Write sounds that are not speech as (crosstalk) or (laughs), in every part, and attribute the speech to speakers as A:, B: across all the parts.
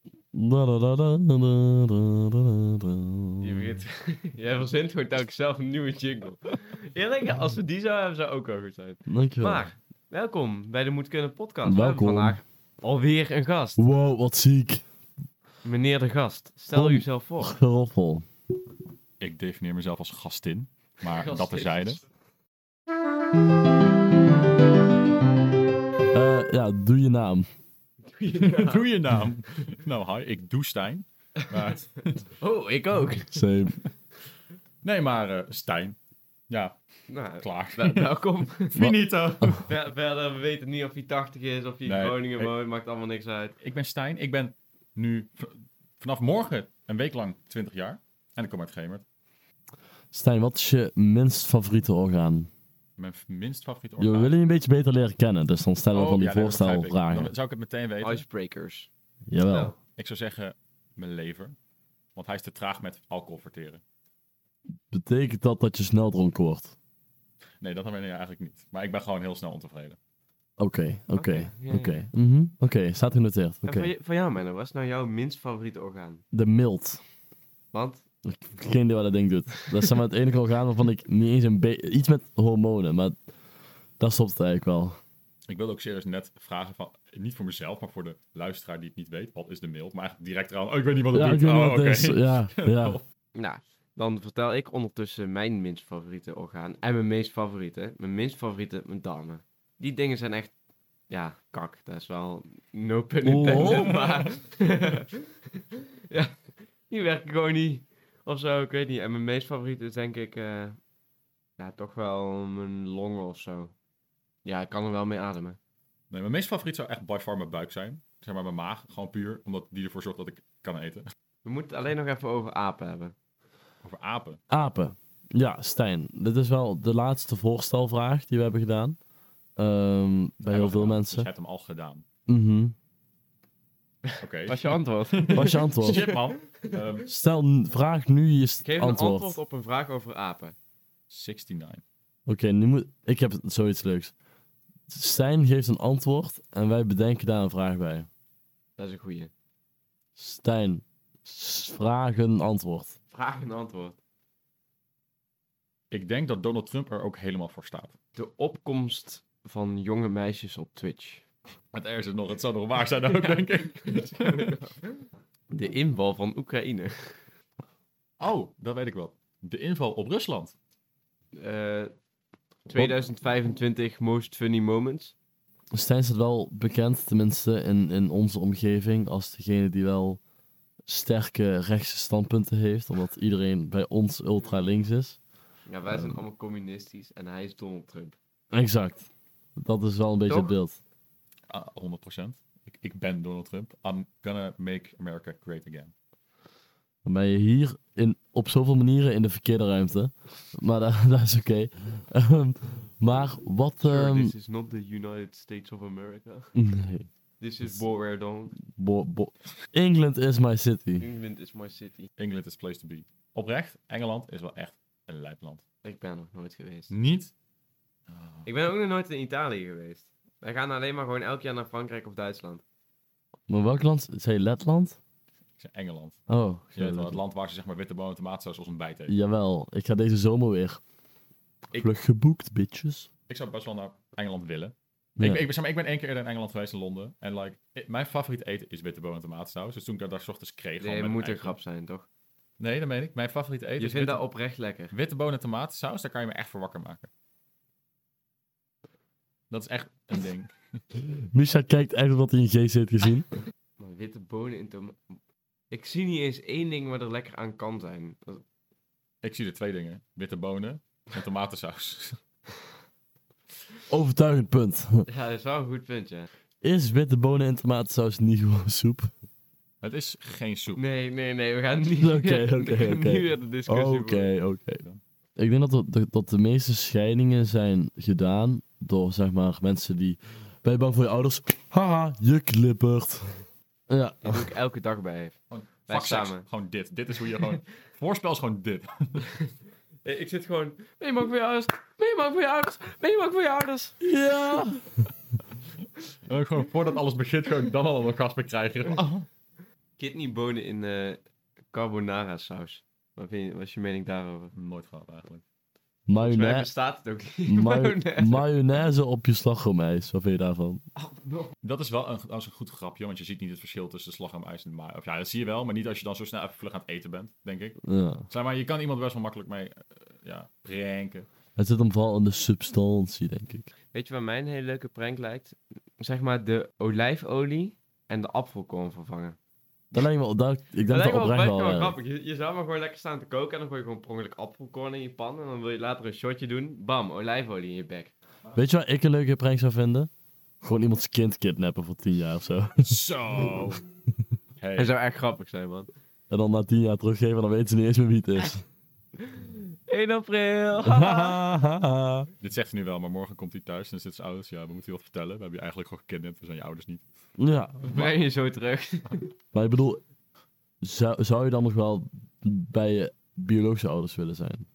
A: Je
B: Je
A: Hmm.
B: weet, (laughs) jij verzint gewoon telkens zelf een nieuwe jingle. Eerlijk, als we die zouden hebben, zou ook wel goed zijn.
A: Dankjewel.
B: Maar, welkom bij de Moet Kunnen podcast. We
A: Welkom.
B: hebben vandaag alweer een gast.
A: Wow, wat ziek.
B: Meneer de gast, stel
A: Kom.
B: jezelf voor.
A: Geroffel.
C: Ik definieer mezelf als gastin, maar dat (laughs) terzijde.
A: Eh, ja, doe je naam.
C: Doe je naam. (laughs) nou, hi, ik doe Stijn. Maar,
B: Oh, ik ook.
A: Same.
C: nee, maar eh, Stijn. Ja,
B: (laughs) Nou,
C: klaar.
B: wel- (laughs) welkom.
C: Finito.
B: Ver- Verder, we weten niet of hij 80 is, of hij in
C: Nee,
B: Groningen
C: ik-
B: woont, maakt allemaal niks uit.
C: (laughs) Ik ben Stijn. Ik ben nu v- vanaf morgen een week lang 20 jaar. En ik kom uit Gemert.
A: Stijn, wat is je minst favoriete orgaan?
C: Mijn f- minst favoriete
A: Je wil je een beetje beter leren kennen, dus dan stellen we
C: Oh,
A: van die
C: ja, nee, dat begrijp ik.
A: voorstelvragen.
C: Dan zou ik het meteen weten.
B: Icebreakers.
A: Jawel.
B: Nou,
C: Ik zou zeggen, mijn lever. Want hij is te traag met alcohol verteren.
A: Betekent dat dat je snel dronken wordt?
C: Nee, dat ben ik eigenlijk niet. Maar ik ben gewoon heel snel ontevreden.
A: Oké, oké,
B: Oké, ja, ja.
A: oké. Mhm, Oké, staat genoteerd. Oké.
B: En van, je- van jou, Menno, wat is nou jouw minst favoriete orgaan?
A: De mild.
B: Want,
A: Geen idee wat dat ding doet. Dat is zeg maar het enige orgaan waarvan ik niet eens een beetje... Iets met hormonen, maar dat stopt het eigenlijk wel.
C: Dus Ik wilde ook serieus net vragen van, niet voor mezelf, maar voor de luisteraar die het niet weet. Wat is de mail? Maar eigenlijk direct eraan, oh, ik weet niet wat het
A: Ja, ik
C: doet.
A: weet niet
C: Oh,
A: wat het
C: oké.
A: is.
C: (laughs)
A: Ja, ja.
B: nou, dan vertel ik ondertussen mijn minst favoriete orgaan. En mijn meest favoriete. Mijn minst favoriete, mijn darmen. Die dingen zijn echt, ja, kak. Dat is wel no pun intended,
A: Lol.
B: maar... (laughs) ja, die werken gewoon niet. Of zo, ik weet niet. En mijn meest favoriete is denk ik, eh, ja, toch wel mijn longen of zo. Ja, ik kan er wel mee ademen.
C: Nee, mijn meest favoriet zou echt by far mijn buik zijn. Zeg maar mijn maag, gewoon puur. Omdat die ervoor zorgt dat ik kan eten.
B: We moeten het alleen nog even over apen hebben.
C: Over apen.
A: Apen. Ja, Stijn. Dit is wel de laatste voorstelvraag die we hebben gedaan. Ehm, bij heel veel
C: Dus
A: mensen.
C: je hebt hem al gedaan.
A: Mhm.
C: Oké.
B: Wat is je antwoord?
A: Wat is je antwoord?
C: (laughs) Shit, man. Ehm,
A: Stel, n- vraag nu je st-
B: Geef
A: antwoord.
B: een antwoord op een vraag over apen.
C: 69.
A: Oké, nu moet... Ik heb zoiets leuks. Stijn geeft een antwoord en wij bedenken daar een vraag bij.
B: Dat is een goeie.
A: Stijn, s- vraag een antwoord.
B: Vraag en antwoord.
C: Ik denk dat Donald Trump er ook helemaal voor staat.
B: De opkomst van jonge meisjes op Twitch.
C: Het ergste nog, het zou nog waar zijn ook, denk ik.
B: De inval van Oekraïne.
C: Oh, dat weet ik wel. De inval op Rusland.
B: Eh, 2025 Most Funny Moments.
A: Stijn staat wel bekend, tenminste in, in onze omgeving, als degene die wel sterke rechtse standpunten heeft. Omdat iedereen bij ons ultra links is.
B: Ja, wij zijn allemaal communistisch en hij is Donald Trump.
A: Exact. Dat is wel een beetje
B: Toch?
A: het beeld.
C: Ah, 100%. Ik, ik ben Donald Trump. I'm gonna make America great again.
A: Dan ben je hier in, op zoveel manieren in de verkeerde ruimte. Maar da- dat (laughs) is oké. Ehm, maar wat...
B: Sir,
A: ehm,
B: this is not the United States of America.
A: (laughs) nee.
B: This is Borwerdon.
A: Bo- bo- England is my city.
B: England is my city.
C: England is the place to be. Oprecht, Engeland is wel echt een lijpland.
B: Ik ben nog nooit geweest.
C: Niet.
B: Ik ben ook nog nooit in Italië geweest. Wij gaan alleen maar gewoon elk jaar naar Frankrijk of Duitsland.
A: Maar welk land? Zei je Letland?
C: Ik zei Engeland.
A: Oh,
C: Je weet wel, het
A: Letland.
C: land waar ze zeg maar witte bonen en tomatensaus als ontbijt eten.
A: Jawel, ik ga deze zomer weer.
C: Ik-
A: Vlug geboekt, bitches.
C: Ik zou best wel naar Engeland willen.
A: Ja.
C: Ik, ik, ben- zeg maar, ik ben één keer eerder in Engeland geweest in Londen. En like, ik- mijn favoriet eten is witte bonen en tomatensaus. Dus toen ik dat daar 's ochtends kreeg... gewoon
B: Nee,
C: met
B: moet een
C: eigen-
B: grap zijn, toch?
C: Nee, dat meen ik. Mijn favoriet eten
B: Je
C: is
B: vindt
C: witte,
B: dat oprecht lekker.
C: witte bonen en tomatensaus. Daar kan je me echt voor wakker maken. Dat is echt een ding.
A: Misha kijkt echt wat hij in G heeft gezien.
B: Maar witte bonen in tomaat. Ik zie niet eens één ding wat er lekker aan kan zijn.
A: (laughs)
B: Dat-
C: Ik zie er twee dingen. Witte bonen en tomatensaus.
A: (laughs)
C: (laughs)
A: Overtuigend punt.
B: Ja, dat is wel een goed punt, ja.
A: Is witte bonen en tomatensaus niet gewoon soep?
C: het is geen soep.
B: Nee, nee, nee, we gaan niet,
A: Oké, oké,
B: (laughs) we gaan
A: oké.
B: niet weer de discussie
A: Oké,
B: voeren.
A: oké. Ik denk dat, dat, dat- dat de meeste scheidingen zijn gedaan door zeg maar mensen die. Ben je bang voor je ouders? Haha, je klippert. Ja,
B: Dat doe ik elke dag bij. Wij
C: Fuck seks.
B: samen.
C: Gewoon dit. Dit
B: (laughs)
C: is hoe je gewoon... Voorspel is gewoon dit.
B: ik zit gewoon, ben je bang voor je ouders? Ben je bang voor je ouders? Ben je bang voor je ouders?
A: ja.
C: En ook gewoon voordat alles begint, gewoon dan al een orgasme krijgen. Oh.
B: Kidneybonen in eh, carbonara saus. Wat, vind je, wat is je mening daarover?
C: Nooit gehad eigenlijk.
B: Volgens mij
A: Mayonaise,
B: bestaat het ook
A: mayo-
B: niet. (laughs) Mayonaise. Oh,
A: mayonaise op je slagroomijs. Wat vind je daarvan?
C: Dat is wel een, dat is een goed grapje, want je ziet niet het verschil tussen slagroomijs en maai. Of ja, dat zie je wel, maar niet als je dan zo snel even vlug aan het eten bent, denk ik.
A: Ja.
C: Zeg maar, je kan iemand best wel makkelijk mee eh, ja,
B: (laughs)
C: pranken.
A: Het zit hem vooral in de substantie, denk ik.
B: Weet je waar mijn hele leuke prank lijkt? Zeg maar de olijfolie en de appelkorn vervangen.
A: Dat lijkt me, dat, ik denk dat,
B: lijkt me
A: oprecht
B: best
A: wel. eh, werkt.
B: grappig. Je, je zou maar gewoon lekker staan te koken en dan gooi je gewoon per ongeluk appelkorn in je pan. En dan wil je later een shotje doen. Bam, olijfolie in je bek.
A: Weet je waar ik een leuke prank zou vinden? Gewoon iemands kind kidnappen voor tien jaar of zo. (laughs)
C: Zo! Hey.
B: Dat zou echt grappig zijn, man.
A: En dan na tien jaar teruggeven, dan weten ze niet eens meer wie het (laughs) is.
B: 1
A: (laughs)
B: april.
C: Dit zegt hij nu wel, maar morgen komt hij thuis en dan zit zijn ouders. Ja, we moeten je wat vertellen. We hebben je eigenlijk gewoon gekidnapt, we zijn je ouders niet.
A: ja,
B: Breng je zo terug.
A: maar ik bedoel, zou, zou je dan nog wel bij je biologische ouders willen zijn?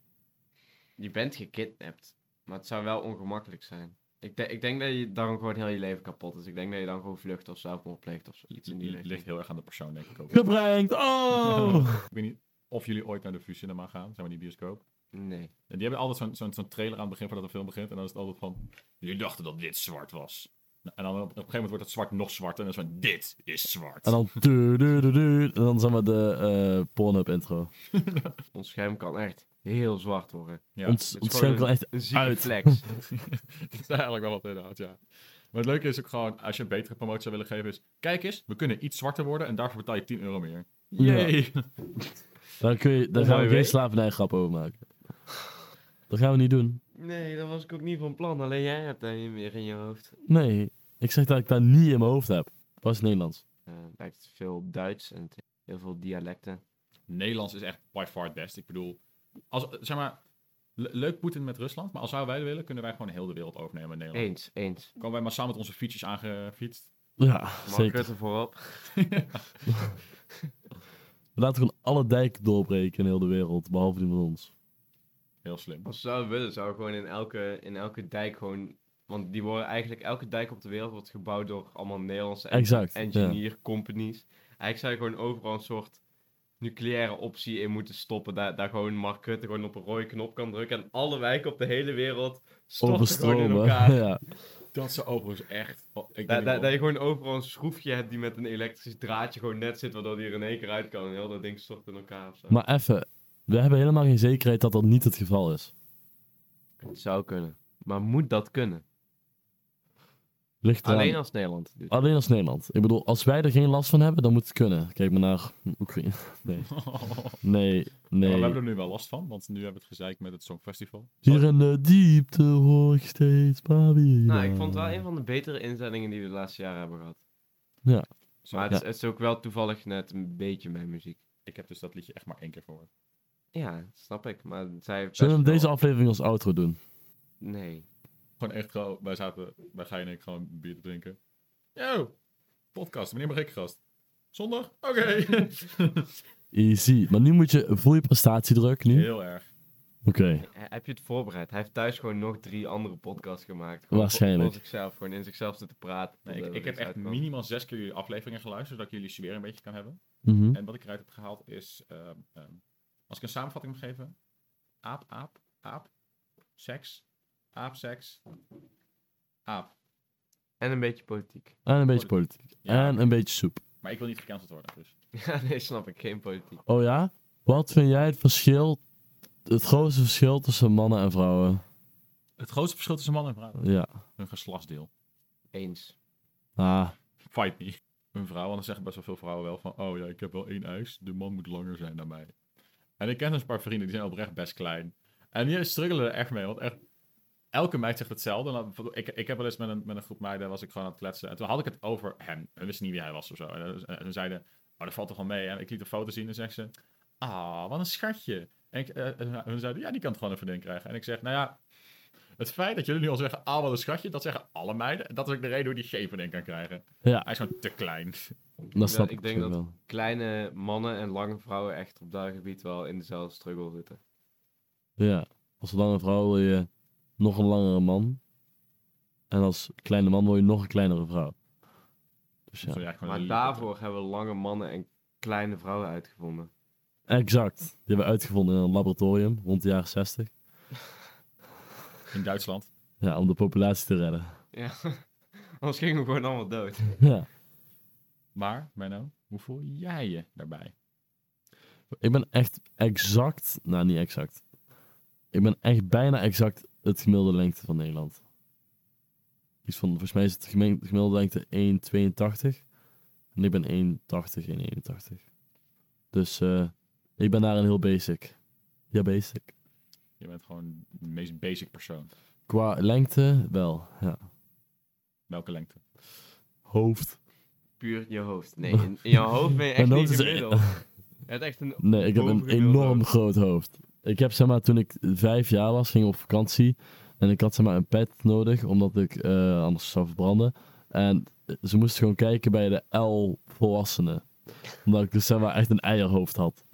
B: Je bent gekidnapt. Maar het zou wel ongemakkelijk zijn. Ik, de- ik denk dat je dan gewoon heel je leven kapot is. Ik denk dat je dan gewoon vlucht of zelfmoord pleegt of zoiets in die
C: Het ligt
B: richting.
C: heel erg aan de persoon, denk ik ook.
A: Gebrengt! Oh!
C: Ik weet niet of jullie ooit naar de Vucinema gaan, zeg maar die bioscoop.
B: Nee.
C: En die hebben altijd zo'n zo'n zo'n trailer aan het begin voordat de film begint. En dan is het altijd van, jullie dachten dat dit zwart was. Nou, En dan op, op een gegeven moment wordt het zwart nog zwarter. En dan is het van, dit is
A: (laughs)
C: zwart.
A: En dan du du du du en dan zeg maar de eh Pornhub intro.
B: Ons scherm kan echt heel zwart worden.
C: Ja.
A: Ons,
B: Het
A: ons
B: is
A: scherm
B: gewoon
A: kan echt...
B: Een zieke
A: Uit. (laughs)
B: flex.
C: (laughs) dat is eigenlijk wel wat inderdaad, ja. Maar het leuke is ook gewoon, als je een betere promotie zou willen geven, is... Kijk eens, we kunnen iets zwarter worden en daarvoor betaal je 10 euro meer.
A: Ja.
C: Jee!
A: Daar, kun je, daar
B: Om
A: gaan we
B: AW?
A: geen slavernijgrap over maken. Dat gaan we niet doen.
B: Nee, dat was ik ook niet van plan. Alleen jij hebt daar niet meer in je hoofd.
A: Nee, ik zeg dat ik dat niet in mijn hoofd heb. Dat is Nederlands.
B: Eh, Het lijkt veel Duits en het heeft heel veel dialecten.
C: (laughs) Nederlands is echt by far het best. Ik bedoel, als, zeg maar, le- leuk Poetin met Rusland, maar als zouden wij willen, kunnen wij gewoon heel de wereld overnemen in Nederland.
B: Eens, eens.
C: Komen wij maar samen met onze fietsjes aangefietst.
A: Ja,
B: Mark
A: zeker.
B: Rutte voorop.
A: We laten gewoon alle dijken doorbreken in heel de wereld, behalve die van ons.
C: Heel slim.
B: Als we zouden willen, zou gewoon in elke, in elke dijk gewoon... Want die worden eigenlijk... Elke dijk op de wereld wordt gebouwd door allemaal Nederlandse en-
A: Exact. Ja.
B: engineer companies. Eigenlijk zou je gewoon overal een soort nucleaire optie in moeten stoppen. Daar, daar gewoon Mark Rutte gewoon op een rode knop kan drukken. En alle wijken op de hele wereld storten gewoon in
A: Overstromen.
B: elkaar.
A: (laughs) ja.
C: Dat ze overigens echt... oh,
B: Dat,
C: ik weet
B: dat,
C: niet
B: dat
C: wat-
B: je gewoon overal een schroefje hebt die met een elektrisch draadje gewoon net zit, waardoor die er in één keer uit kan en heel dat ding stort in elkaar of zo.
A: Maar even, we hebben helemaal geen zekerheid dat dat niet het geval is.
B: Het zou kunnen. Maar moet dat kunnen?
A: Ligt eraan.
B: Alleen als Nederland. doet.
A: Alleen als Nederland. Ik bedoel, als wij er geen last van hebben, dan moet het kunnen. Kijk maar naar Oekraïne. Nee, nee,
C: Ja, maar
A: nee.
C: we hebben er nu wel last van, want nu hebben we het gezeik met het Songfestival.
A: Hier in de diepte hoor ik steeds maar weer.
B: Nou, ik vond het wel een van de betere inzendingen die we de laatste jaren hebben gehad.
C: Zo,
B: Maar het, is, het is ook wel toevallig net een beetje mijn muziek.
C: Ik heb dus dat liedje echt maar één keer gehoord.
B: Ja, snap ik. Maar zij heeft
A: Zullen we
B: best
A: deze
B: wel-
A: aflevering als outro doen?
B: Nee.
C: Gewoon echt gewoon, wij zaten bij Gij en ik gewoon bier te drinken. Yo, podcast, wanneer mag ik gast? Zondag? Oké. (laughs)
A: Easy. Maar nu moet je, voel je prestatiedruk nu?
C: Heel erg.
A: Oké.
B: He- Heb je het voorbereid? Hij heeft thuis gewoon nog drie andere podcasts gemaakt.
A: Waarschijnlijk.
B: Voor zichzelf, gewoon in zichzelf zitten praten.
C: Nee,
B: totdat
C: ik,
B: er
C: ik heb
B: iets
C: echt
B: uitkomt.
C: minimaal zes keer jullie afleveringen geluisterd, zodat ik jullie sfeer een beetje kan hebben.
A: Mhm.
C: En wat ik eruit heb gehaald is, ehm, ehm, als ik een samenvatting mag geven, aap, aap, aap, seks, aap, seks, aap.
B: En een beetje politiek. (laughs)
A: En een beetje politiek.
C: Ja,
A: En een beetje soep.
C: Maar ik wil niet gecanceld worden, dus.
B: Ja, nee, snap ik. Geen politiek.
A: Oh ja? Wat vind jij het verschil, het grootste verschil tussen mannen en vrouwen?
C: Het grootste verschil tussen man en vrouw?
A: Ja.
C: Hun geslachtsdeel.
B: Eens.
A: Ah,
C: Fight me. Een vrouw, want dan zeggen best wel veel vrouwen wel van, oh ja, ik heb wel één eis, de man moet langer zijn dan mij. En ik ken dus een paar vrienden, die zijn oprecht best klein. En die struggelen er echt mee, want echt, elke meid zegt hetzelfde. En dan- Ik, ik heb wel eens met een, met een groep meiden, was ik gewoon aan het kletsen. En toen had ik het over hem, en wisten niet wie hij was of zo. En, dan- en ze zeiden, oh, dat valt toch wel mee. En ik liet een foto zien en zegt ze, ah, wat een schatje. En ik, eh, en hun zeiden, ja, die kan het gewoon een vriendin krijgen. En ik zeg, nou ja, het feit dat jullie nu al zeggen, ah, wat een schatje, dat zeggen alle meiden. En dat is ook de reden hoe die geen vriendin kan krijgen.
A: ja.
C: Hij is gewoon te klein.
A: Dat snap
B: ik
A: ik
B: denk
A: natuurlijk
B: dat-
A: wel.
B: Kleine mannen en lange vrouwen echt op dat gebied wel in dezelfde struggle zitten.
A: Ja. Als lange vrouw wil je nog een langere man. En als kleine man wil je nog een kleinere vrouw. Dus ja.
C: Zo, ja, gewoon
B: Maar
C: een-
B: daarvoor hebben lange mannen en kleine vrouwen uitgevonden.
A: Exact. Die hebben we uitgevonden in een laboratorium rond de jaren 60.
C: In Duitsland.
A: Ja, om de populatie te redden. (laughs)
B: Ja. (laughs) Anders gingen we gewoon allemaal dood.
A: Ja.
C: Maar, Menno, hoe voel jij je daarbij?
A: Ik ben echt exact, nou niet exact. Ik ben echt bijna exact het gemiddelde lengte van Nederland. Iets van, volgens mij is het gemeen- gemiddelde lengte 1,82. En ik ben 1,80, 1,81. Dus eh, ik ben daarin heel basic. Ja, basic.
C: Je bent gewoon de meest basic persoon.
A: Qua lengte wel, ja.
C: Welke lengte?
A: Hoofd.
B: Puur je hoofd. Nee, in, (laughs) in jouw hoofd ben je echt
A: Mijn
B: niet
A: hoofd is-
B: gemiddeld. Je hebt echt een...
A: Nee, ik heb een
B: Bovengemiddeld
A: enorm
B: hoofd.
A: groot hoofd. Ik heb zeg maar, toen ik vijf jaar was, ging ik op vakantie. En ik had zeg maar een pet nodig, omdat ik eh, anders zou verbranden. En ze moesten gewoon kijken bij de L volwassenen. Omdat ik dus zeg maar echt een eierhoofd had.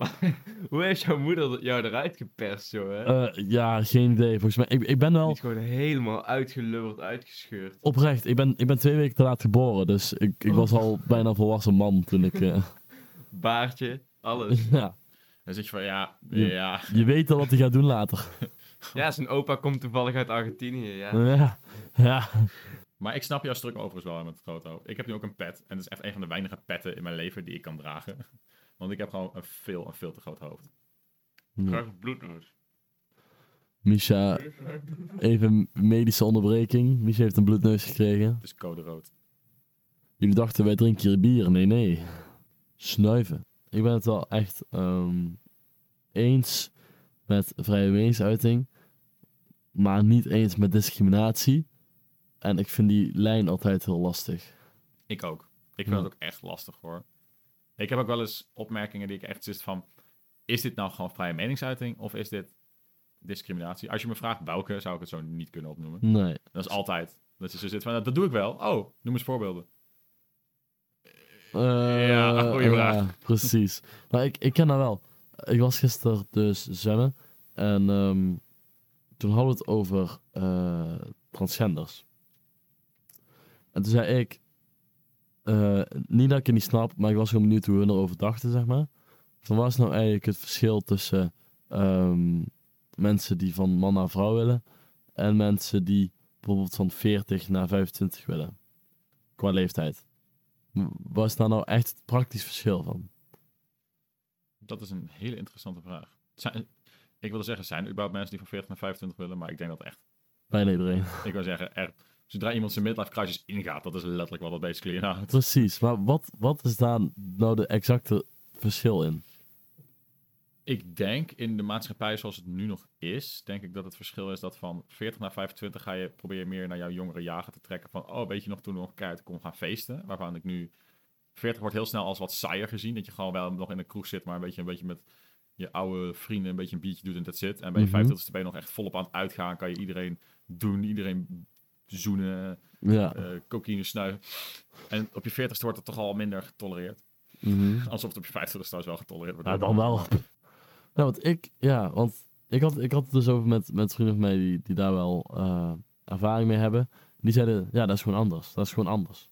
B: Hoe heeft jouw moeder dat- jou eruit geperst, joh? Hè?
A: Eh, ja, geen idee. Volgens mij, ik, ik ben
B: Die
A: wel
B: is gewoon helemaal uitgelubberd, uitgescheurd.
A: oprecht. Ik ben, ik ben twee weken te laat geboren. Dus ik, ik was al bijna een volwassen man toen ik. eh, (laughs)
B: Baardje, alles.
A: ja,
C: Dan zit je van, ja,
A: Ja.
C: ja.
A: je weet al wat hij gaat doen later.
B: Ja, zijn opa komt toevallig uit Argentinië, ja.
A: Ja, ja.
C: Maar ik snap jouw stuk overigens wel met het grote hoofd. Ik heb nu ook een pet. En dat is echt een van de weinige petten in mijn leven die ik kan dragen. (laughs) Want ik heb gewoon een veel, een veel te groot hoofd.
B: Graag een bloednood.
A: Misha, even medische onderbreking. Misha heeft een bloedneus gekregen.
C: Het is code rood.
A: Jullie dachten, wij drinken hier bier. Nee, nee. Snuiven. Ik ben het wel echt ehm, eens met vrije meningsuiting. Maar niet eens met discriminatie. En ik vind die lijn altijd heel lastig.
C: Ik ook. Ik vind
A: Ja.
C: het ook echt lastig hoor. Ik heb ook wel eens opmerkingen die ik echt zit van... Is dit nou gewoon vrije meningsuiting of is dit discriminatie? Als je me vraagt welke, zou ik het zo niet kunnen opnoemen.
A: Nee.
C: Dat is altijd. Dat is zo zit van, "Nou, dat doe ik wel. Oh, noem eens voorbeelden.
A: Eh,
C: Ja, (laughs) goeie
A: ja,
C: vraag.
A: precies. Maar ik, ik ken dat wel. Ik was gisteren dus zwemmen. En ehm, toen hadden we het over eh, transgenders. En toen zei ik... eh, niet dat ik het niet snap, maar ik was gewoon benieuwd hoe hun erover dachten, zeg maar. Van wat is nou eigenlijk het verschil tussen ehm, mensen die van man naar vrouw willen... en mensen die bijvoorbeeld van 40 naar 25 willen. Qua leeftijd. Wat is daar nou echt het praktisch verschil van?
C: Dat is een hele interessante vraag. Zijn- ik wilde zeggen, zijn er überhaupt mensen die van 40 naar 25 willen? Maar ik denk dat echt
A: Bijna iedereen.
C: Ik wil zeggen, er, zodra iemand zijn midlife crisis ingaat, dat is letterlijk wat dat basically inhoudt.
A: Precies, maar wat, wat is daar nou de exacte verschil in?
C: Ik denk in de maatschappij zoals het nu nog is, denk ik dat het verschil is dat van 40 naar 25 ga je proberen meer naar jouw jongere jaren te trekken. Van, oh, weet je nog toen we nog keihard kon gaan feesten? Waarvan ik nu, 40 wordt heel snel als wat saaier gezien. Dat je gewoon wel nog in een kroeg zit, maar een beetje, een beetje met je oude vrienden een beetje een biertje doet en dat zit. En bij je
A: Mhm.
C: 25 ben je nog echt volop aan het uitgaan. Kan je iedereen doen, iedereen zoenen,
A: Ja,
C: eh, cocaïne snuiven. En op je 40ste wordt het toch al minder getolereerd.
A: mhm.
C: Alsof het op je 50ste trouwens wel getolereerd wordt.
A: nou dan wel. Ja, want ik, ja, want ik had, ik had het dus over met, met vrienden van mij die, die daar wel eh, ervaring mee hebben. Die zeiden, ja, dat is gewoon anders. Dat is gewoon anders.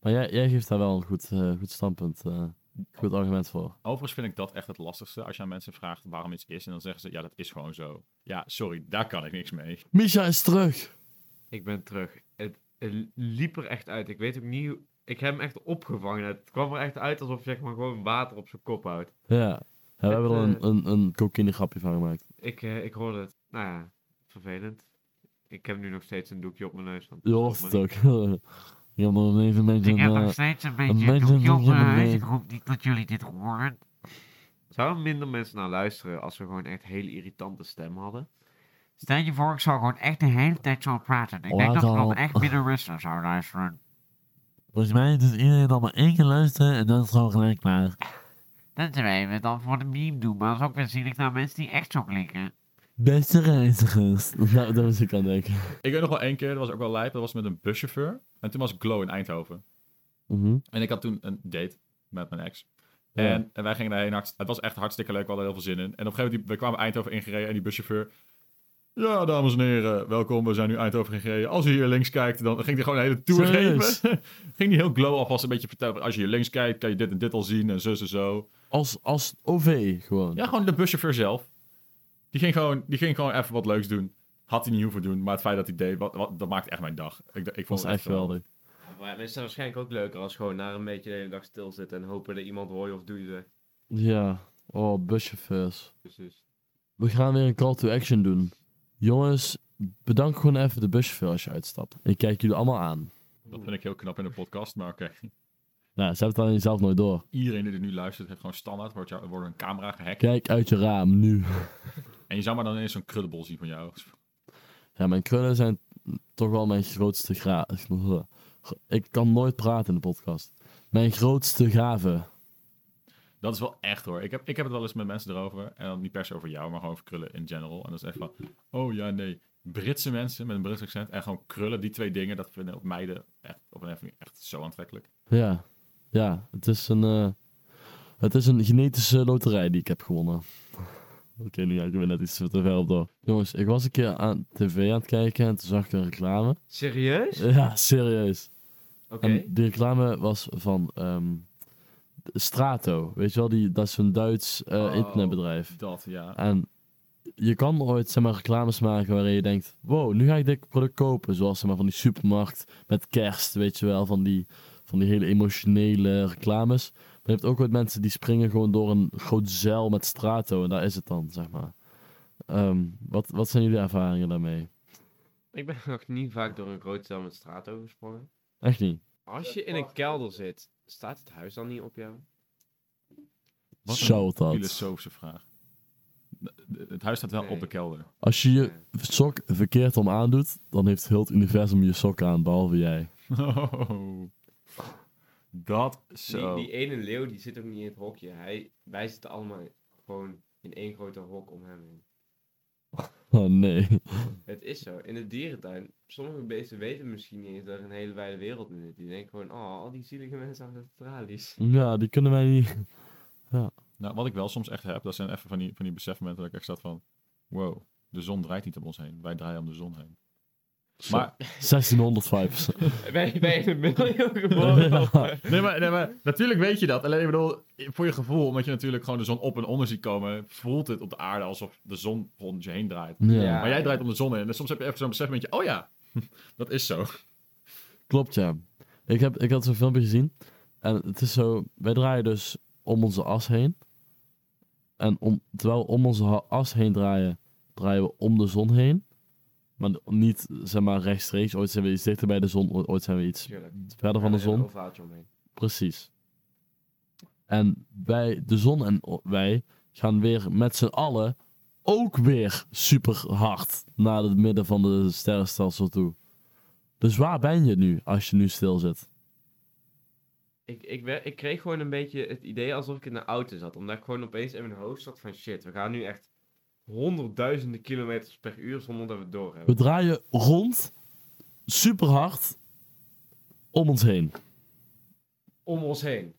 A: Maar jij, jij geeft daar wel een goed, eh, goed standpunt, eh, goed argument voor.
C: Overigens vind ik dat echt het lastigste. Als je aan mensen vraagt waarom iets is en dan zeggen ze, ja, dat is gewoon zo. Ja, sorry, daar kan ik niks mee. (laughs)
A: Misha is terug!
B: Ik ben terug. Het, het liep er echt uit. Ik weet ook niet hoe... Ik heb hem echt opgevangen. Het kwam er echt uit alsof je zeg maar, gewoon water op zijn kop houdt.
A: Ja, ja we
B: Het,
A: hebben er
B: eh,
A: een, een, een cocaïne grapje van gemaakt.
B: Ik, eh, ik hoorde het. Nou ja, vervelend. Ik heb nu nog steeds een doekje op mijn neus. want-
A: Je hoort het ook. (laughs) Je hebt nog even een beetje
D: Dus Ik heb
A: een, eh,
D: nog steeds een
A: een
D: beetje
A: beetje
D: een doekje op
A: doekje
D: mijn
A: erbij.
D: huis. Ik hoop niet dat jullie dit horen.
B: Zouden minder mensen naar luisteren als we gewoon echt hele irritante stem hadden?
D: Stel je voor, ik zou gewoon echt de hele tijd zo praten. Ik denk
A: Laat
D: dat er dan
A: al.
D: echt minder mensen zou luisteren.
A: Volgens mij doet iedereen dan maar één keer luisteren en dan is het gewoon gelijk klaar.
D: Tenzij we het dan voor de meme doen, maar dat is ook weer zielig naar mensen die echt zo klinken.
A: Beste reizigers. (laughs) Nou, daar was ik aan denken.
C: Ik weet nog wel één keer, dat was ook wel lijp, dat was met een buschauffeur. En toen was ik Glow in Eindhoven.
A: Mhm.
C: En ik had toen een date met mijn ex.
A: Ja.
C: En, en wij gingen daarheen. hartst- Het was echt hartstikke leuk. We hadden heel veel zin in. En op een gegeven moment die- we kwamen Eindhoven ingereden. En die buschauffeur. Ja, dames en heren, welkom. We zijn nu Eindhoven gereden. Als u hier links kijkt, dan ging hij gewoon een hele tour
A: Serieus?
C: geven. (laughs) ging hij heel glow alvast een beetje vertellen. Als je hier links kijkt, kan je dit en dit al zien en zus en zo.
A: Als, als OV gewoon.
C: Ja, gewoon de buschauffeur zelf. Die ging gewoon, die ging gewoon even wat leuks doen. Had hij niet hoeven doen, maar het feit dat hij deed, wat, wat- dat maakt echt mijn dag. Ik, ik vond
A: was
C: het
A: echt geweldig.
B: Maar het is waarschijnlijk ook leuker als gewoon naar een beetje de hele dag stilzitten en hopen dat iemand hoor je of doe je zegt.
A: Ja. Oh, buschauffeurs.
B: Precies.
A: We gaan weer een call to action doen. Jongens, bedank gewoon even de buschauffeur als je uitstapt. Ik kijk jullie allemaal aan.
C: Dat vind ik heel knap in de podcast, maar oké.
A: Nou, ze hebben het alleen zelf nooit door.
C: Iedereen die er nu luistert, heeft gewoon standaard, wordt, jou, wordt een camera gehackt.
A: Kijk uit je raam, nu.
C: En je zou maar dan ineens zo'n kruddebol zien van jou.
A: Ja, mijn krullen zijn toch wel mijn grootste gra... (laughs) Ik kan nooit praten in de podcast. Mijn grootste gave.
C: Dat is wel echt hoor. Ik heb, ik heb het wel eens met mensen erover. En dan niet per se over jou, maar gewoon over krullen in general. En dat is echt van, oh ja, nee. Britse mensen met een Brits accent en gewoon krullen, die twee dingen, dat vinden op meiden echt, op een heffing echt zo aantrekkelijk.
A: Ja. Ja, het is een... eh, het is een genetische loterij die ik heb gewonnen. (laughs) Oké, nu ga ik weer net iets te ver op door. Jongens, ik was een keer aan tv aan het kijken en toen zag ik een reclame. (laughs)
B: Serieus?
A: Ja, serieus.
B: Oké.
A: En die reclame was van ehm, Strato. Weet je wel, die, dat is een Duits eh,
B: Oh.
A: internetbedrijf.
C: Dat, ja.
A: En je kan ooit zeg maar, reclames maken waarin je denkt: wow, nu ga ik dit product kopen. Zoals zeg maar, van die supermarkt met kerst, weet je wel, van die, van die hele emotionele reclames. Maar je hebt ook ooit mensen die springen gewoon door een groot zeil met strato. En daar is het dan, zeg maar. Ehm, wat, wat zijn jullie ervaringen daarmee?
B: Ik ben nog niet vaak door een groot cel met straat overgesprongen.
A: Echt niet.
B: Als je in een kelder zit, staat het huis dan niet op jou?
C: Wat een
A: Zou dat?
C: filosofische vraag. Het huis staat wel
B: Nee.
C: op de kelder. (laughs)
A: Als je je sok verkeerd om aandoet, dan heeft heel het universum je sok aan, behalve jij.
C: Oh. Dat
B: Die,
C: zo.
B: die ene leeuw die zit ook niet in het hokje. Hij, wij zitten allemaal gewoon in één grote hok om hem heen.
A: Oh nee.
B: Het is zo. In de dierentuin, sommige beesten weten misschien niet eens dat er een hele wijde wereld in zit. Die denken gewoon, oh, al die zielige mensen uit Australië.
A: Ja, die kunnen wij niet. (laughs)
C: Nou, wat ik wel soms echt heb, dat zijn even van die, van die besefmomenten dat ik echt zat van, wow, de zon draait niet om ons heen. Wij draaien om de zon heen. Maar
A: 1600 vibes.
B: Wij ben je in een (laughs) middeleeuwen
A: (laughs)
B: geboren?
A: Ja.
C: Nee maar, nee, maar natuurlijk weet je dat. Alleen ik bedoel, voor je gevoel, omdat je natuurlijk gewoon de zon op en onder ziet komen, voelt het op de aarde alsof de zon rond je heen draait.
A: Ja,
B: Ja.
C: Maar jij draait om de zon heen. En soms heb je even zo'n besef met je, oh ja, (laughs) dat is zo.
A: klopt ja. Ik, heb, ik had zo'n filmpje gezien. En het is zo, wij draaien dus om onze as heen. En om, terwijl we om onze ha- as heen draaien, draaien we om de zon heen. Maar niet, zeg maar, rechtstreeks. Ooit zijn we iets dichter bij de zon, o- ooit zijn we iets
B: Tuurlijk.
A: verder van de
B: Ja, er is een
A: zon.
B: ovaaltje omheen.
A: Precies. En wij, de zon en o- wij, gaan weer met z'n allen ook weer super hard naar het midden van de sterrenstelsel toe. Dus waar ben je nu als je nu stil zit?
B: Ik, ik, wer- ik kreeg gewoon een beetje het idee alsof ik in een auto zat. Omdat ik gewoon opeens in mijn hoofd zat van shit, we gaan nu echt honderdduizenden kilometers per uur zonder dat we het door
A: We
B: hebben.
A: draaien rond, super hard, om ons
C: (laughs)
A: heen.
B: Om ons heen.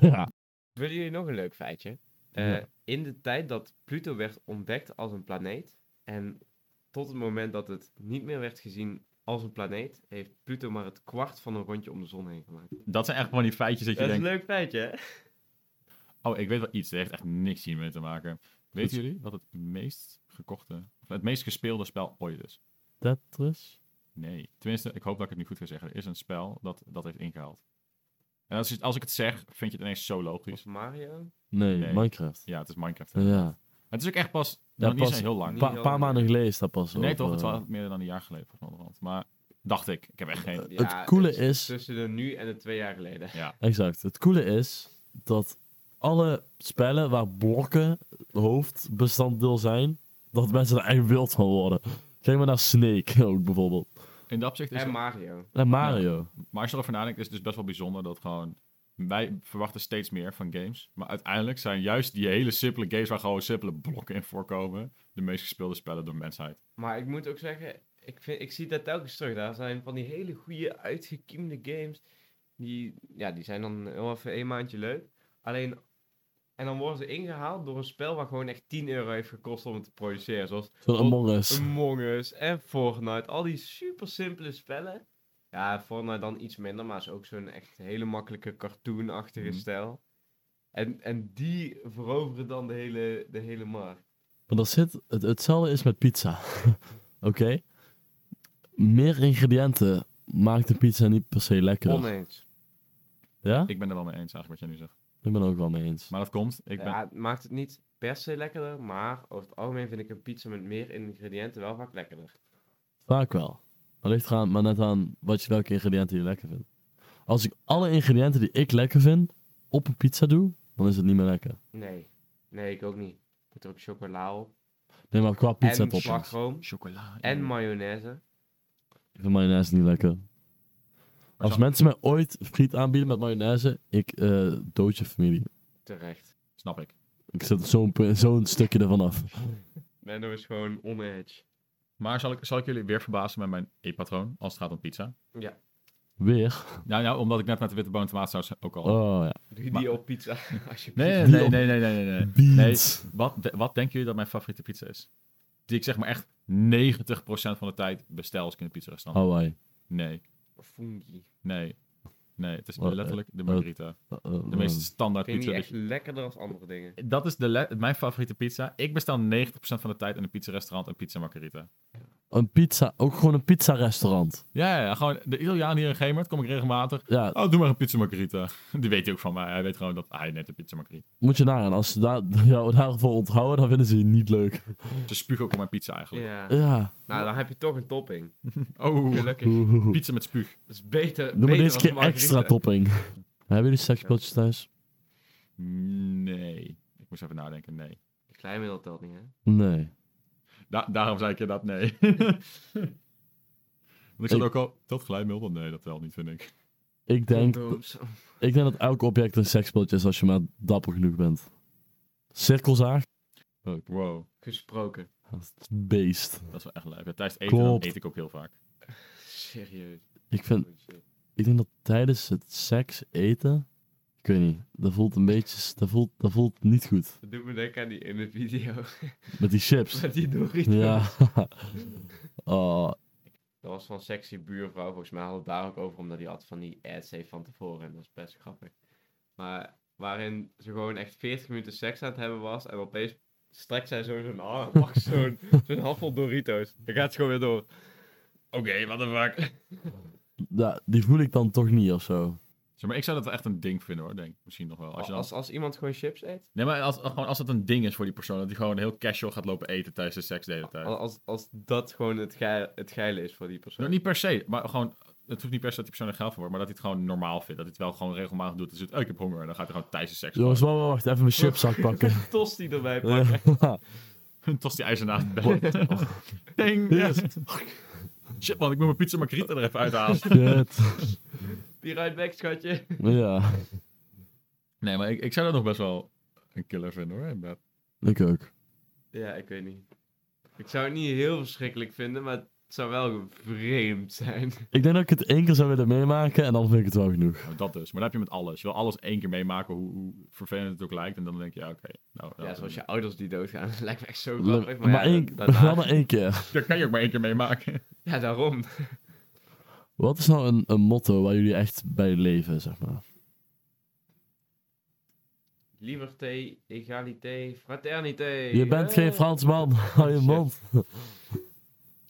A: ja.
B: Willen jullie nog een leuk feitje?
A: Ja.
B: Eh, In de tijd dat Pluto werd ontdekt als een planeet en tot het moment dat het niet meer werd gezien als een planeet, heeft Pluto maar het kwart van een rondje om de zon heen gemaakt.
C: Dat zijn echt gewoon die feitjes dat je
B: Dat is een
C: denkt,
B: leuk feitje, hè?
C: oh ik weet wel iets, dat heeft echt niks hiermee te maken. Weten jullie wat het meest gekochte, of het meest gespeelde spel ooit is?
A: Tetris?
C: Nee. Tenminste, ik hoop dat ik het nu goed ga zeggen. Er is een spel dat dat heeft ingehaald. En als, je- als ik het zeg, vind je het ineens zo
B: Of
C: logisch.
B: Mario?
A: Nee,
C: Nee.
A: Minecraft.
C: Ja, het is Minecraft. hè.
A: Ja.
C: Het is ook echt pas,
A: Ja,
C: nog niet
A: pas-
C: zo heel lang.
A: Een
B: Niet
A: paar
B: heel
A: paar
B: erg.
A: maanden geleden is dat pas
C: Nee,
A: over,
C: toch? Het was
A: eh,
C: meer dan een jaar geleden, volgens mij. onderhand. Maar dacht ik. Ik heb echt geen...
A: het coole
B: is
A: is-
B: Tussen de nu en de twee jaar geleden.
A: Exact. Het coole is dat alle spellen waar blokken hoofdbestanddeel zijn, dat mensen er echt wild van worden. Kijk maar naar Snake (laughs) ook bijvoorbeeld.
C: In dat opzicht is
B: En
C: het...
B: Mario.
A: En Mario.
C: Maar als je erover nadenkt, is het dus best wel bijzonder dat gewoon... Wij verwachten steeds meer van games. Maar uiteindelijk zijn juist die hele simpele games... waar gewoon simpele blokken in voorkomen... de meest gespeelde spellen door de mensheid.
B: Maar ik moet ook zeggen, ik, vind, ik zie dat telkens terug. Daar zijn van die hele goede uitgekiemde games. Die, ja, die zijn dan heel even een maandje leuk. Alleen En dan worden ze ingehaald door een spel waar gewoon echt 10 euro heeft gekost om het te produceren. Zoals
A: Zo'n Among
B: oh,
A: Us.
B: Among Us en Fortnite. Al die super simpele spellen. Ja, Fortnite dan iets minder, maar is ook zo'n echt hele makkelijke cartoonachtige
C: Mhm.
B: stijl. En, en die veroveren dan de hele, de hele markt.
A: Maar dat zit, het, hetzelfde is met pizza. (laughs) Oké? Meer ingrediënten maakt de pizza niet per se lekker.
B: Oneens.
A: Ja?
C: Ik ben er wel mee eens eigenlijk wat jij nu zegt.
A: Ik ben er ook wel mee eens.
C: Maar dat komt. Ik ben...
B: Ja, het maakt het niet per se lekkerder, maar over het algemeen vind ik een pizza met meer ingrediënten wel vaak lekkerder.
A: Vaak wel. Maar ligt eraan, maar net aan wat je, welke ingrediënten je lekker vindt. Als ik alle ingrediënten die ik lekker vind op een pizza doe, dan is het niet meer lekker.
B: Nee. Nee, ik ook niet. Ik doe er ook chocola op.
A: Nee, maar qua pizza
B: en
A: toppings.
B: slagroom.
C: Chocola.
B: En mayonaise.
A: Ik vind mayonaise niet lekker. Als
C: zou-
A: mensen mij ooit friet aanbieden met mayonaise, ik eh dood je familie.
B: Terecht.
C: Snap ik.
A: Ik zet zo'n pu- zo'n stukje ervan af.
B: Menno is gewoon on-edge.
C: Maar zal ik, zal ik jullie weer verbazen met mijn eetpatroon als het gaat om pizza?
A: Weer.
C: Nou, nou omdat ik net met de witte boon en tomatensaus ook al...
A: Oh ja.
B: Doe je
C: Maar-
B: die op pizza? (laughs) Alsjeblieft.
C: Nee,
A: Die
C: nee, nee,
A: op-
C: nee, nee, nee, nee.
A: Beans.
C: Wat, de- wat denken jullie dat mijn favoriete pizza is? Die ik zeg maar echt 90% van de tijd bestel als ik in een pizzarestaurant.
A: Hawaii.
C: Nee,
B: Funky.
C: nee, nee. Het is
A: Wat, eh,
C: letterlijk de
A: wat-
C: margarita.
A: Eh, eh,
C: De meest standaard
B: Ik vind
C: pizza.
B: die
C: die-
B: echt lekkerder als andere dingen.
C: Dat is de le- mijn favoriete pizza. Ik bestel 90% van de tijd in een pizzarestaurant een pizza margarita.
A: Een pizza, ook gewoon een pizza restaurant.
C: Ja, ja, ja, gewoon de Italiaan hier in Gemert kom ik regelmatig.
A: Ja,
C: Oh, doe maar een pizza margarita. (laughs) Die weet hij ook van mij. Hij weet gewoon dat hij net een pizza margarita.
A: moet je nagaan. Als ze daar, (laughs) jou daarvoor onthouden, dan vinden ze je niet leuk.
C: Ze spugen ook op mijn pizza eigenlijk.
B: Ja.
A: Ja.
B: Nou, dan heb je toch een topping.
C: Oh,
B: Gelukkig.
C: (laughs)
A: Oeh.
C: pizza met spuug.
B: Dat is beter.
A: Doe maar
B: beter
A: deze
B: dan
A: keer
B: margarita.
A: extra topping. (laughs) Hebben jullie sekspotjes thuis?
C: Nee. Ik moest even nadenken. Nee.
B: Kleinmiddel telt niet, hè?
A: Nee.
C: Da- daarom zei ik je dat nee. (laughs) Want ik zat
A: Ik-
C: ook al, dat glijmiddel, nee, dat wel niet, vind ik.
A: Ik denk,
B: Condooms.
A: ik denk dat elk object een sekspotje is als je maar dapper genoeg bent. Cirkelzaag?
C: Wow,
B: Gesproken.
A: Dat is een Beest.
C: dat is wel echt leuk. Ja, Tijdens het eten dan
A: Klopt.
C: eet ik ook heel vaak.
B: Serieus. Oh,
A: Ik, vind, ik denk dat tijdens het seks eten... Ik weet niet. Dat voelt een beetje... Dat voelt, dat voelt niet goed.
B: Dat doet me denken aan die ene video.
A: Met die (laughs)
B: (laughs)
A: chips.
B: Met die Doritos.
A: Ja. (laughs) Oh,
B: Dat was van sexy buurvrouw. Volgens mij hadden we het daar ook over, omdat die had van die ads heeft van tevoren. En dat is best grappig. Maar waarin ze gewoon echt 40 minuten seks aan het hebben was. En opeens strekt zij zo zijn arm. (laughs) Mag zo'n zo'n handvol Doritos. Dan gaat ze gewoon weer door. Oké, wat de fuck.
A: ja, die voel ik dan toch niet of zo.
C: Zeg maar, ik zou dat wel echt een ding vinden hoor, denk ik. Misschien nog wel. Als
B: Als,
C: je dan...
B: als, iemand gewoon chips eet.
C: Nee, maar als, gewoon als het een ding is voor die persoon, dat die gewoon heel casual gaat lopen eten tijdens de seks de hele tijd.
B: Als, als, als dat gewoon het, geil, het geile is voor die persoon.
C: Nou, niet per se, maar gewoon, het hoeft niet per se dat die persoon er geld voor wordt, maar dat hij het gewoon normaal vindt. Dat hij het wel gewoon regelmatig doet. Dus het, oh, ik heb honger, en dan gaat hij gewoon tijdens de seks
A: Jongens, wacht, wacht, wacht, even mijn chipszak
B: (laughs)
A: pakken. (laughs)
B: Tost die erbij pakken.
A: Ja.
C: (laughs) Tost die ijzer naast het bed. Ding!
A: Yes.
C: Shit man, ik moet mijn pizza margarita er even uithalen.
A: Shit.
B: Be right back, schatje. (laughs)
A: Ja,
C: Nee, maar ik, ik zou dat nog best wel een killer vinden hoor, in bed.
A: ik ook.
B: Ja, ik weet niet. Ik zou het niet heel verschrikkelijk vinden, maar het zou wel vreemd zijn.
A: Ik denk dat ik het één keer zou willen meemaken en dan vind ik het wel genoeg.
C: Nou, dat dus. Maar dat heb je met alles. Je wil alles één keer meemaken, hoe, hoe vervelend het ook lijkt. En dan denk je, ja, oké. nou,
B: Ja,
C: nou,
B: zoals je ouders die doodgaan. (laughs) Dat lijkt me echt zo grappig.
A: Maar,
B: Maar, ja,
A: één,
B: daarna-
A: wel maar één keer.
C: Dat kan je ook maar één keer
A: (laughs)
C: meemaken.
B: ja, daarom.
A: Wat is nou een, een motto waar jullie echt bij leven, zeg maar?
B: Liberté, egalité, fraternité.
A: Je bent geen Fransman, (laughs) hou je
B: shit.
A: mond.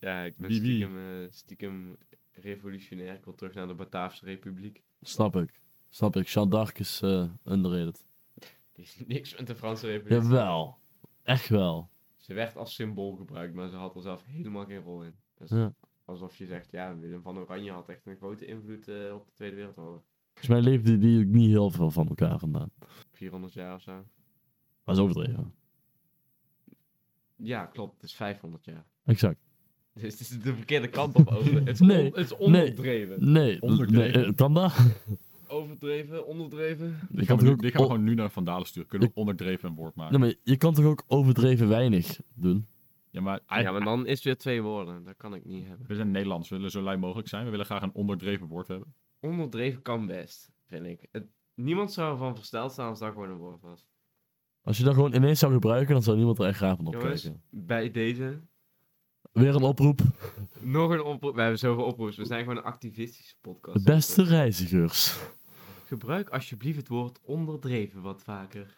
B: Ja, ik ben
C: Wie, wie?
B: stiekem, eh, stiekem revolutionair. Ik wil terug naar de Bataafse Republiek.
A: Snap ik, snap ik. Jean d'Arc is eh underrated.
B: Die is (laughs) niks met de Franse Republiek.
A: Jawel, echt wel.
B: Ze werd als symbool gebruikt, maar ze had er zelf helemaal geen rol in. Dus
A: Ja.
B: alsof je zegt, ja, Willem van Oranje had echt een grote invloed eh, op de Tweede Wereldoorlog.
A: Volgens mij leefden die ook niet heel veel van elkaar vandaan.
B: 400 jaar of zo.
A: Maar is overdreven.
B: Ja, klopt. Het is 500 jaar. (laughs)
A: Exact.
B: Dus het is de verkeerde kant op over. Het is,
A: Nee,
B: on- het is onopdreven.
A: Nee, nee
C: Onderdreven.
A: eh, kan dat?
B: Overdreven, onderdreven.
A: Je
C: Gaan
A: kan toch
C: we nu-
A: ook
C: Die gaan we
A: o-
C: gewoon nu naar Van Dalen sturen. Kunnen we onderdreven een woord maken?
A: Nee, maar je kan toch ook overdreven weinig doen?
C: Ja, maar,
B: Ja, maar dan is het weer twee woorden. Dat kan ik niet hebben.
C: we zijn Nederlands. We willen zo lui mogelijk zijn. We willen graag een onderdreven woord hebben.
B: Onderdreven kan best, vind ik. Het- niemand zou ervan versteld staan als dat gewoon een woord was.
A: Als je dat gewoon ineens zou gebruiken, dan zou niemand er echt graag van
B: Jongens,
A: opkijken.
B: bij deze
A: Weer een oproep.
B: nog een oproep. We hebben zoveel oproeps. We zijn gewoon een activistische podcast. Dus
A: Beste reizigers,
B: Gebruik alsjeblieft het woord onderdreven wat vaker.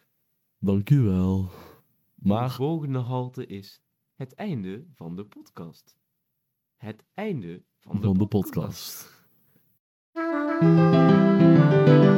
A: dank u wel.
B: De
A: Maar
B: volgende halte is het einde van de podcast. Het einde van de,
A: van de
B: podcast.
A: podcast.